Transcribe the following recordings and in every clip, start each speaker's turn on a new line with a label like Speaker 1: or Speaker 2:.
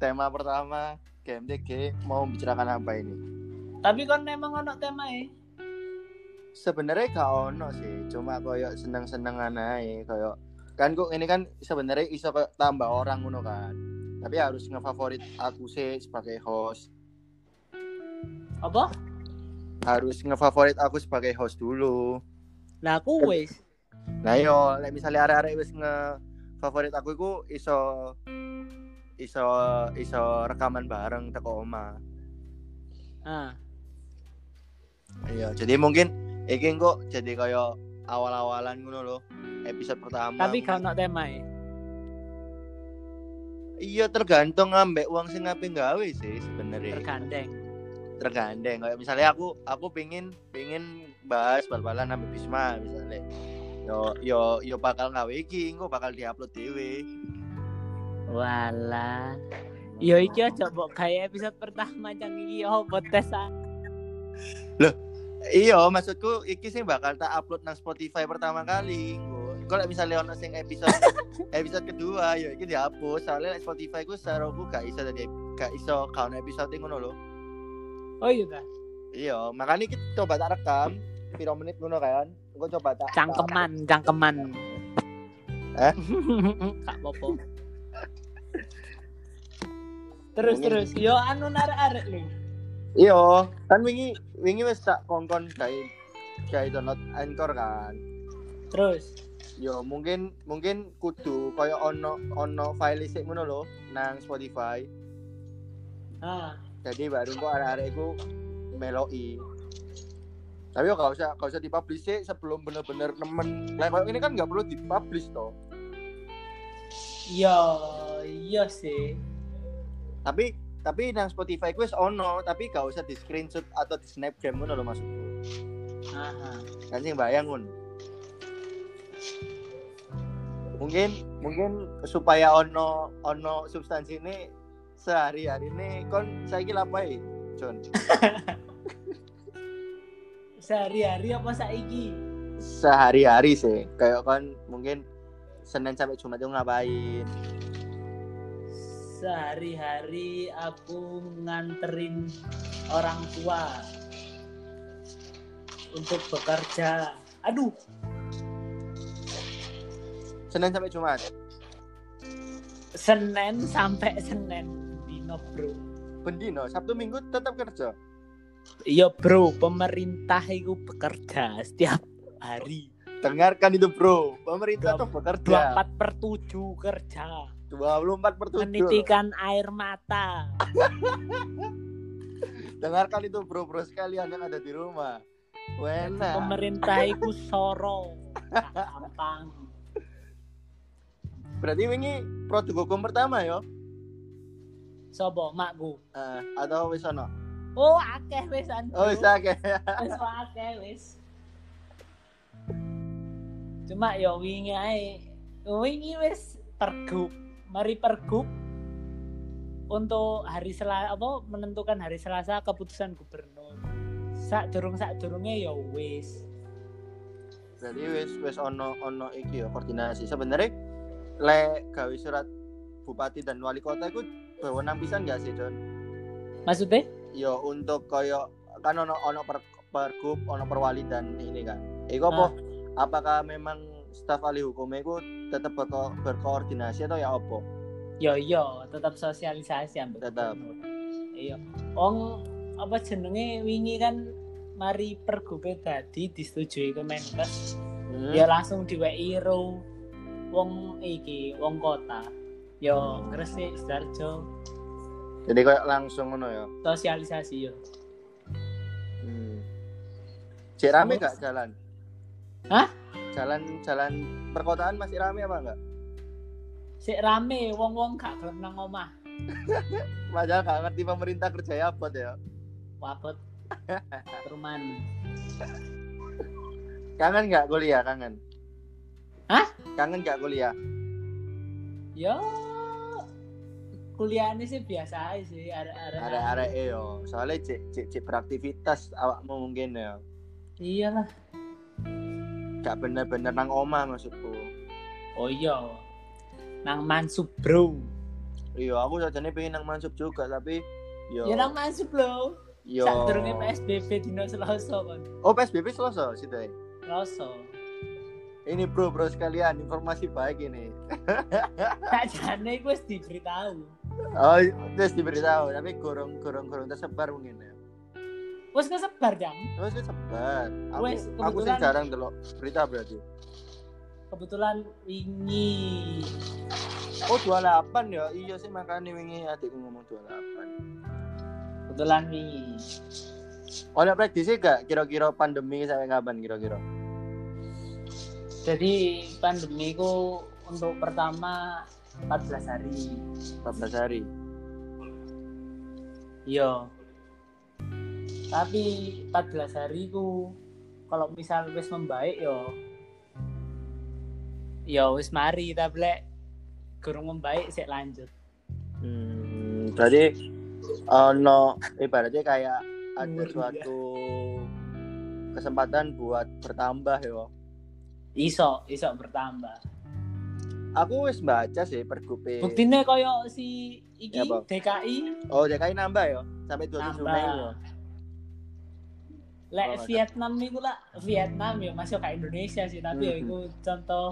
Speaker 1: tema pertama GMTG mau bicarakan apa ini?
Speaker 2: Tapi kan memang ono temae.
Speaker 1: Sebenarnya gak ono sih, cuma koyo seneng-senengan ae, koyo kan kok ini kan sebenarnya iso koyo tambah orang ngono kan. Tapi harus ngefavorit aku sih sebagai host.
Speaker 2: Apa?
Speaker 1: Harus ngefavorit aku sebagai host dulu.
Speaker 2: Lah aku wis.
Speaker 1: Nah yo, lek misalnya arek-arek wis ngefavorit aku iku iso iso iso rekaman bareng teko oma.
Speaker 2: Ah,
Speaker 1: Iya, jadi mungkin iki kok jadi koyo awal-awalan ngono loh episode pertama.
Speaker 2: tapi gak ono temae.
Speaker 1: Iya tergantung ngambek uang sing ngapain gawe sih sebenarnya.
Speaker 2: Tergandeng.
Speaker 1: Tergandeng. Kayak misalnya aku aku pingin pingin bahas bal-balan sama Bisma misalnya. Yo yo yo bakal gawe iki, engko bakal diupload dhewe.
Speaker 2: Walah. Yo iki aja mbok gawe episode pertama jang iki yo podcast ah.
Speaker 1: Iya, maksudku iki sih bakal tak upload nang Spotify pertama kali. Kalau misalnya ono sing episode episode kedua, yo iki dihapus. Soalnya like, Spotify ku saroku gak iso dadi gak iso kaon episode ngono lho.
Speaker 2: Oh iya ta.
Speaker 1: Iya, makanya kita coba tak rekam piro menit ngono kan. Gua coba tak
Speaker 2: Cangkeman, cangkeman.
Speaker 1: Eh?
Speaker 2: Kak Popo. Terus
Speaker 1: Mungkin-
Speaker 2: terus, yo anu narik-arik nih.
Speaker 1: Iya, kan wingi wingi wis tak kongkon kayak kayak download Anchor kan.
Speaker 2: Terus.
Speaker 1: Yo mungkin mungkin kudu koyo ono ono file sik ngono lho nang Spotify.
Speaker 2: Ah,
Speaker 1: Jadi baru kok arek-arek iku meloi. Tapi yo gak usah gak usah dipublish sik sebelum bener-bener nemen. Lah koyo ini kan gak perlu dipublish toh.
Speaker 2: yo iya sih.
Speaker 1: Tapi tapi nang Spotify ku wis ono, tapi gak usah di screenshot atau di Snapgram ngono lho maksudku.
Speaker 2: Aha.
Speaker 1: kan sing bayang Ngun. mungkin mungkin supaya ono ono substansi ini sehari hari ini kon saya kira apa ya John
Speaker 2: Sehari-hari apa saiki?
Speaker 1: sehari hari sih kayak kon mungkin senin sampai jumat itu ngapain
Speaker 2: Sehari-hari aku nganterin orang tua untuk bekerja. Aduh,
Speaker 1: senin sampai jumat
Speaker 2: Senin sampai Senin. Dino bro.
Speaker 1: bendino sabtu minggu tetap kerja
Speaker 2: Iya bro, pemerintah itu bekerja setiap hari.
Speaker 1: dengarkan itu bro pemerintah
Speaker 2: Dua-
Speaker 1: tuh bekerja
Speaker 2: 24 per 7 kerja.
Speaker 1: 24 per 7
Speaker 2: Menitikan air mata.
Speaker 1: dengarkan itu bro bro sekalian yang ada di rumah Wena.
Speaker 2: Pemerintah itu soro. Gak Gampang.
Speaker 1: Berarti wingi produk hukum pertama yo.
Speaker 2: Sobo, makku.
Speaker 1: Eh, atau wis ono?
Speaker 2: Oh, akeh wis anjir.
Speaker 1: Oh, wis akeh.
Speaker 2: Wis akeh wis. Cuma ya wingi ae. Wingi wis pergub. Mari pergub untuk hari Selasa apa menentukan hari Selasa keputusan gubernur. Sak durung sak durunge ya wis.
Speaker 1: Berarti wis wis ono ono iki yo koordinasi. Sebenarnya le gawe surat bupati dan wali kota iku wewenang pisan gak sih, Don?
Speaker 2: Maksudnya?
Speaker 1: Yo untuk koyo kan ono ono per, pergub, ono perwali dan ini kan. Iku apa? Apakah memang staf ahli hukumnya iku tetap berko- berkoordinasi atau ya opo?
Speaker 2: Yo yo, iya, tetap sosialisasi ambek
Speaker 1: Tetap.
Speaker 2: gubernur. Iya. Wong apa jenenge wingi kan mari pergube tadi disetujui Kemenkes.
Speaker 1: Hmm.
Speaker 2: ya langsung diweki ro wong iki wong kota yo
Speaker 1: Hmm.
Speaker 2: Gresik Sidoarjo
Speaker 1: Jadi koyo langsung ngono ya. yo.
Speaker 2: sosialisasi yo
Speaker 1: Hmm. Cek rame gak jalan?
Speaker 2: Hah?
Speaker 1: Jalan jalan perkotaan masih rame apa enggak?
Speaker 2: sik rame wong-wong gak gelem nang omah
Speaker 1: Padahal gak ngerti pemerintah kerja apa tuh ya.
Speaker 2: wabot perumahan
Speaker 1: Kangen gak kuliah, kangen?
Speaker 2: Hah?
Speaker 1: Kangen gak kuliah?
Speaker 2: yo kuliahnya sih biasa aja sih arek-arek
Speaker 1: Arek-arek e yo. Soalnya cek cek cek beraktivitas awakmu mungkin ya.
Speaker 2: iyalah
Speaker 1: Gak bener-bener nang omah maksudku.
Speaker 2: oh iya nang Mansub bro
Speaker 1: Iya, aku sajane pengen nang masuk juga tapi yo
Speaker 2: Ya nang masuk lho.
Speaker 1: yo.
Speaker 2: Sak durunge PSBB dino Selasa kon.
Speaker 1: Oh, PSBB Selasa sih Day.
Speaker 2: Selasa.
Speaker 1: Ini bro, bro sekalian informasi baik ini.
Speaker 2: Sakjane iku wis diberitahu.
Speaker 1: Oh, terus diberitahu tapi gorong-gorong-gorong tersebar mungkin ya.
Speaker 2: Wis kesebar jang.
Speaker 1: Terus tersebar. Aku,
Speaker 2: Wes,
Speaker 1: aku sih
Speaker 2: kebetulan-
Speaker 1: jarang delok berita berarti.
Speaker 2: Kebetulan wingi
Speaker 1: Oh, 28 ya. Iya sih makanya wingi adikku ngomong 28.
Speaker 2: kebetulan wingi.
Speaker 1: Ono prediksi gak kira-kira pandemi sampai kapan kira-kira?
Speaker 2: Jadi pandemi ku untuk pertama 14 hari.
Speaker 1: 14 hari.
Speaker 2: Iya. Tapi 14 hari ku kalau misal wis membaik yo yo wis mari tapi lek gurung membaik sik lanjut.
Speaker 1: Hmm, jadi ono ibaratnya kayak ada
Speaker 2: Umur dia.
Speaker 1: suatu kesempatan buat bertambah ya.
Speaker 2: Iso, iso bertambah.
Speaker 1: Aku wis baca sih pergub-e.
Speaker 2: Buktinya koyo si iki
Speaker 1: Ya, Bang.
Speaker 2: DKI
Speaker 1: Oh, DKI nambah ya sampai 27 Mei ya.
Speaker 2: tambah. Lek
Speaker 1: Oh,
Speaker 2: Vietnam niku lah, Vietnam ya masuk ke Indonesia sih, tapi ya
Speaker 1: Mhm.
Speaker 2: iku contoh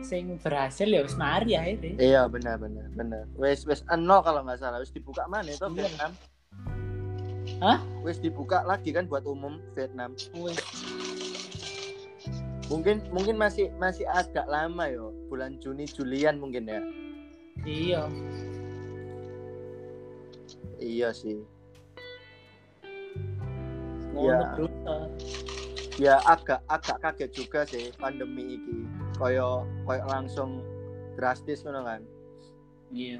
Speaker 2: sing berhasil ya wis mari akhirnya.
Speaker 1: Iya, benar benar benar. Wis wis eno kalau nggak salah wis dibuka mana itu
Speaker 2: Iya.
Speaker 1: Vietnam.
Speaker 2: Hah?
Speaker 1: Wis dibuka lagi kan buat umum Vietnam.
Speaker 2: Wis
Speaker 1: Mungkin mungkin masih masih agak lama yo, bulan Juni Julian mungkin ya.
Speaker 2: iya.
Speaker 1: Iya sih. Iya.
Speaker 2: Ngono bro.
Speaker 1: ya agak agak kaget juga sih pandemi iki koyo koyo langsung drastis ngono kan
Speaker 2: Iya.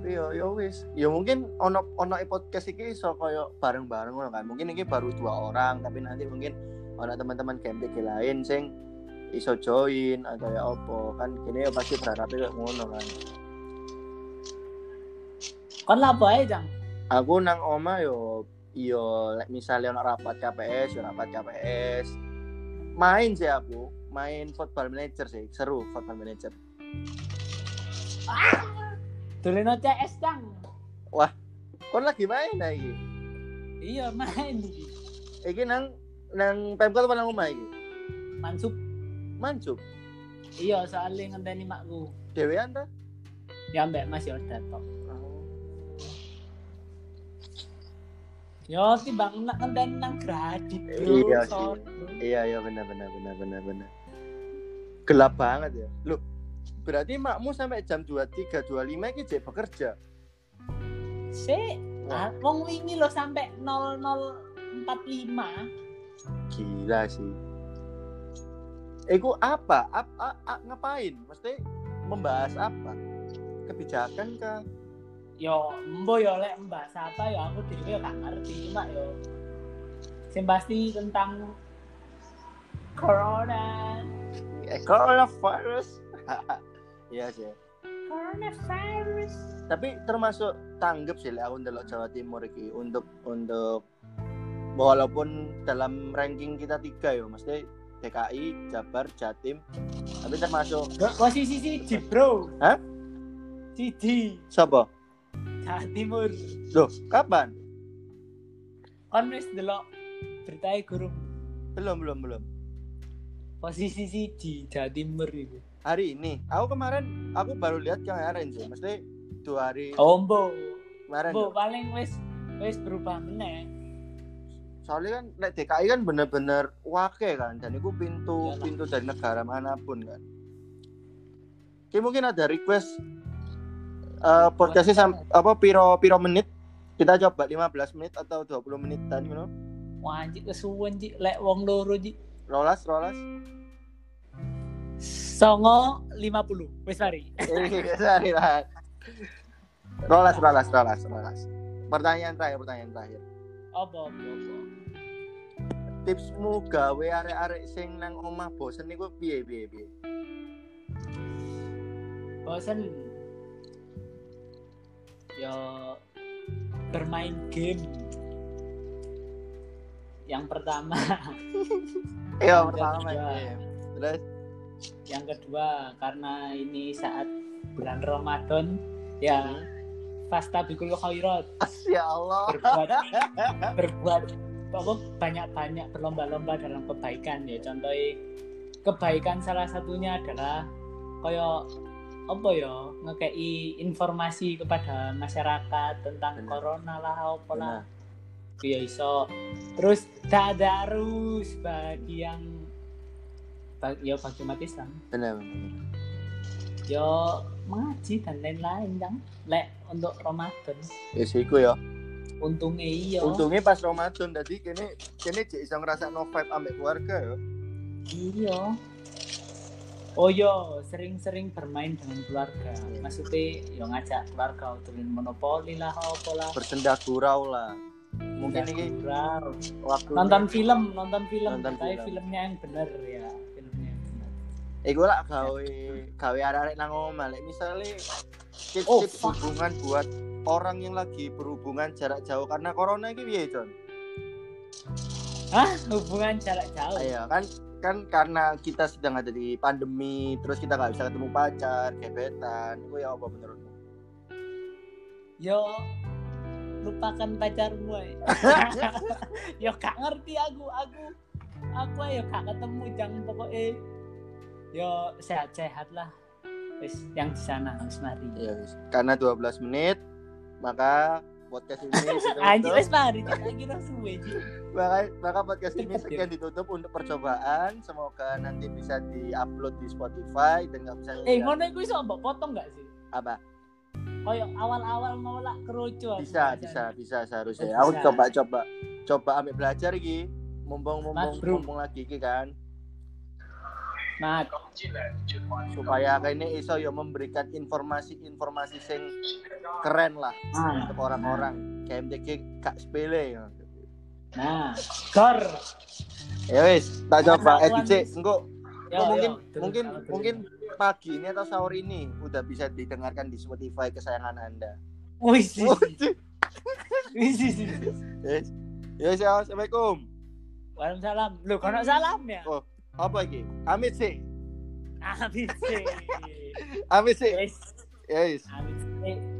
Speaker 1: Tapi yo yo wis ya mungkin ono ono i podcast iki iso koyo bareng-bareng ngono kan mungkin iki baru dua orang tapi nanti mungkin ono teman-teman game lain sing iso join atau ya opo kan kini ya pasti berharapnya kayak ngono kan
Speaker 2: Kon lapo ae, Jang?
Speaker 1: aku nang oma yo yo like misalnya ono rapat KPS yo rapat KPS main sih aku main football manager sih seru football manager
Speaker 2: Doleno CS, Jang.
Speaker 1: Kon lagi main nah iki.
Speaker 2: Iya, main iki.
Speaker 1: Iki nang nang Pemkot apa nang omah iki?
Speaker 2: Mansup.
Speaker 1: Mancuk.
Speaker 2: Iya, soalnya ngenteni makku.
Speaker 1: Dewean ta?
Speaker 2: Ya mbak Mas ya udah tok. Yo timbang nak ngenteni nang gradit. bro.
Speaker 1: Iya sih.
Speaker 2: Sorry.
Speaker 1: Iya iya benar benar benar benar benar. Gelap banget ya. Loh, berarti makmu sampai jam 23 25 iki jek bekerja.
Speaker 2: Sik,
Speaker 1: Wah,
Speaker 2: ah, wong wingi lho sampai 0045.
Speaker 1: gila sih. Iku apa? Ap, a- a- ngapain? Mesti membahas apa? Kebijakan kah?
Speaker 2: Yo, mbo yo lek mbahas apa yo aku dhewe yo gak ngerti cuma yo sing pasti tentang corona,
Speaker 1: Eh, Coronavirus. Iya sih.
Speaker 2: coronavirus.
Speaker 1: tapi termasuk tanggap sih lah aku ndelok Jawa Timur iki untuk untuk walaupun dalam ranking kita tiga ya mesti DKI Jabar Jatim tapi termasuk
Speaker 2: Go- Posisi siji, Bro.
Speaker 1: Hah?
Speaker 2: Siji,
Speaker 1: siapa
Speaker 2: Jawa Timur.
Speaker 1: loh kapan
Speaker 2: Kon wis delok beritae gurung
Speaker 1: belum belum belum
Speaker 2: posisi siji Jawa Timur iku.
Speaker 1: hari ini aku kemarin aku baru lihat kemarin sih mesti dua hari
Speaker 2: Oh, mbo.
Speaker 1: kemarin
Speaker 2: Mbo paling wis wis berubah meneh.
Speaker 1: soalnya kan nek DKI kan bener-bener wake kan dan itu pintu
Speaker 2: Iyalah.
Speaker 1: pintu dari negara manapun kan Oke, mungkin ada request eh podcastnya sam- apa piro piro menit kita coba 15 menit atau 20 menitan you know
Speaker 2: Wah, anjir kesuwen Ji. lek wong loro Ji.
Speaker 1: rolas rolas
Speaker 2: Songo 50. Wis mari.
Speaker 1: Eh, sorry lah. rolas rolas rolas rolas pertanyaan terakhir pertanyaan terakhir
Speaker 2: Apa apa apa.
Speaker 1: tipsmu gawe arek-arek sing nang omah bosen niku piye piye piye
Speaker 2: Bosen. Yo ya bermain game. Yang pertama,
Speaker 1: iya
Speaker 2: Yang
Speaker 1: pertama
Speaker 2: kedua.
Speaker 1: ya terus
Speaker 2: yang kedua karena ini saat bulan Ramadan ya fastabikul khairat
Speaker 1: Ya Allah.
Speaker 2: berbuat berbuat apa banyak-banyak berlomba-lomba dalam kebaikan ya contohnya kebaikan salah satunya adalah koyo apa ya ngekei informasi kepada masyarakat tentang
Speaker 1: Benar.
Speaker 2: corona lah apa lah ya iso terus tadarus bagi yang bagi, ya bagi umat Islam
Speaker 1: Benar, benar.
Speaker 2: yo mengaji dan lain-lain kan lek untuk Ramadan
Speaker 1: Ya sih iku ya.
Speaker 2: untungnya iya
Speaker 1: Untungnya pas Ramadan tadi kene kene jek iso ngerasa no vibe ambek keluarga ya.
Speaker 2: Iya. Oh yo, sering-sering bermain dengan keluarga. Maksudnya, yo ngajak keluarga utulin monopoli lah, apa lah.
Speaker 1: Bersenda gurau lah. Mungkin
Speaker 2: Nggak
Speaker 1: ini
Speaker 2: kurang.
Speaker 1: waktu
Speaker 2: Ya. Nonton film, nonton film.
Speaker 1: Nonton
Speaker 2: Tapi
Speaker 1: film.
Speaker 2: filmnya yang bener ya, filmnya yang bener.
Speaker 1: Iku lah gawe gawe arek-arek nang omah. Lek misale tips
Speaker 2: Oh,
Speaker 1: tips
Speaker 2: fuck.
Speaker 1: hubungan buat orang yang lagi berhubungan jarak jauh karena corona iki piye, Jon?
Speaker 2: Hah? Hubungan jarak jauh.
Speaker 1: Ayo kan kan karena kita sedang ada di pandemi, terus kita nggak bisa ketemu pacar, gebetan, itu ya apa menurutmu?
Speaker 2: Yo, lupakan pacarmu. eh. yo gak ngerti aku, aku, aku eh, yo gak ketemu jangan pokoknya. Yo sehat-sehat lah. Wis, yang di sana harus mari.
Speaker 1: Iya, wis. karena 12 menit, maka podcast ini
Speaker 2: Anjir
Speaker 1: ditutup.
Speaker 2: wis mari Cuk. lagi nang suwe Cuk.
Speaker 1: maka, maka podcast ini sekian ditutup untuk percobaan. Semoga nanti bisa diupload di Spotify dan nggak bisa
Speaker 2: Eh ngono iku iso mbok potong gak sih?
Speaker 1: apa?
Speaker 2: Koyo awal-awal mau lak kerucu.
Speaker 1: Bisa, bisa, bisa seharusnya.
Speaker 2: Oh,
Speaker 1: Aku
Speaker 2: Bisa.
Speaker 1: coba coba coba ambil belajar iki. Mumpung mumpung
Speaker 2: Mas, bro.
Speaker 1: mumpung lagi iki kan.
Speaker 2: Mat,
Speaker 1: supaya ini iso yo memberikan informasi-informasi sing keren lah
Speaker 2: nah,
Speaker 1: untuk orang-orang KMTG kak sepele ya.
Speaker 2: nah, gor.
Speaker 1: ya wis tak coba eh
Speaker 2: Ketahuan,
Speaker 1: Dice,
Speaker 2: wis.
Speaker 1: engko engko
Speaker 2: Yo,
Speaker 1: Oh, mungkin
Speaker 2: yo, dulu,
Speaker 1: mungkin
Speaker 2: dulu.
Speaker 1: mungkin pagi ini atau sahur ini udah bisa didengarkan di Spotify kesayangan anda Oh,
Speaker 2: Wis. Wis. wis, wis.
Speaker 1: Yes. Yes, ya, assalamualaikum.
Speaker 2: Waalaikumsalam. Lu kono salam ya.
Speaker 1: Oh. Apa iki? Amit sih,
Speaker 2: Habis.
Speaker 1: amit sih.
Speaker 2: Wis. Eh,
Speaker 1: Yes.
Speaker 2: Habis.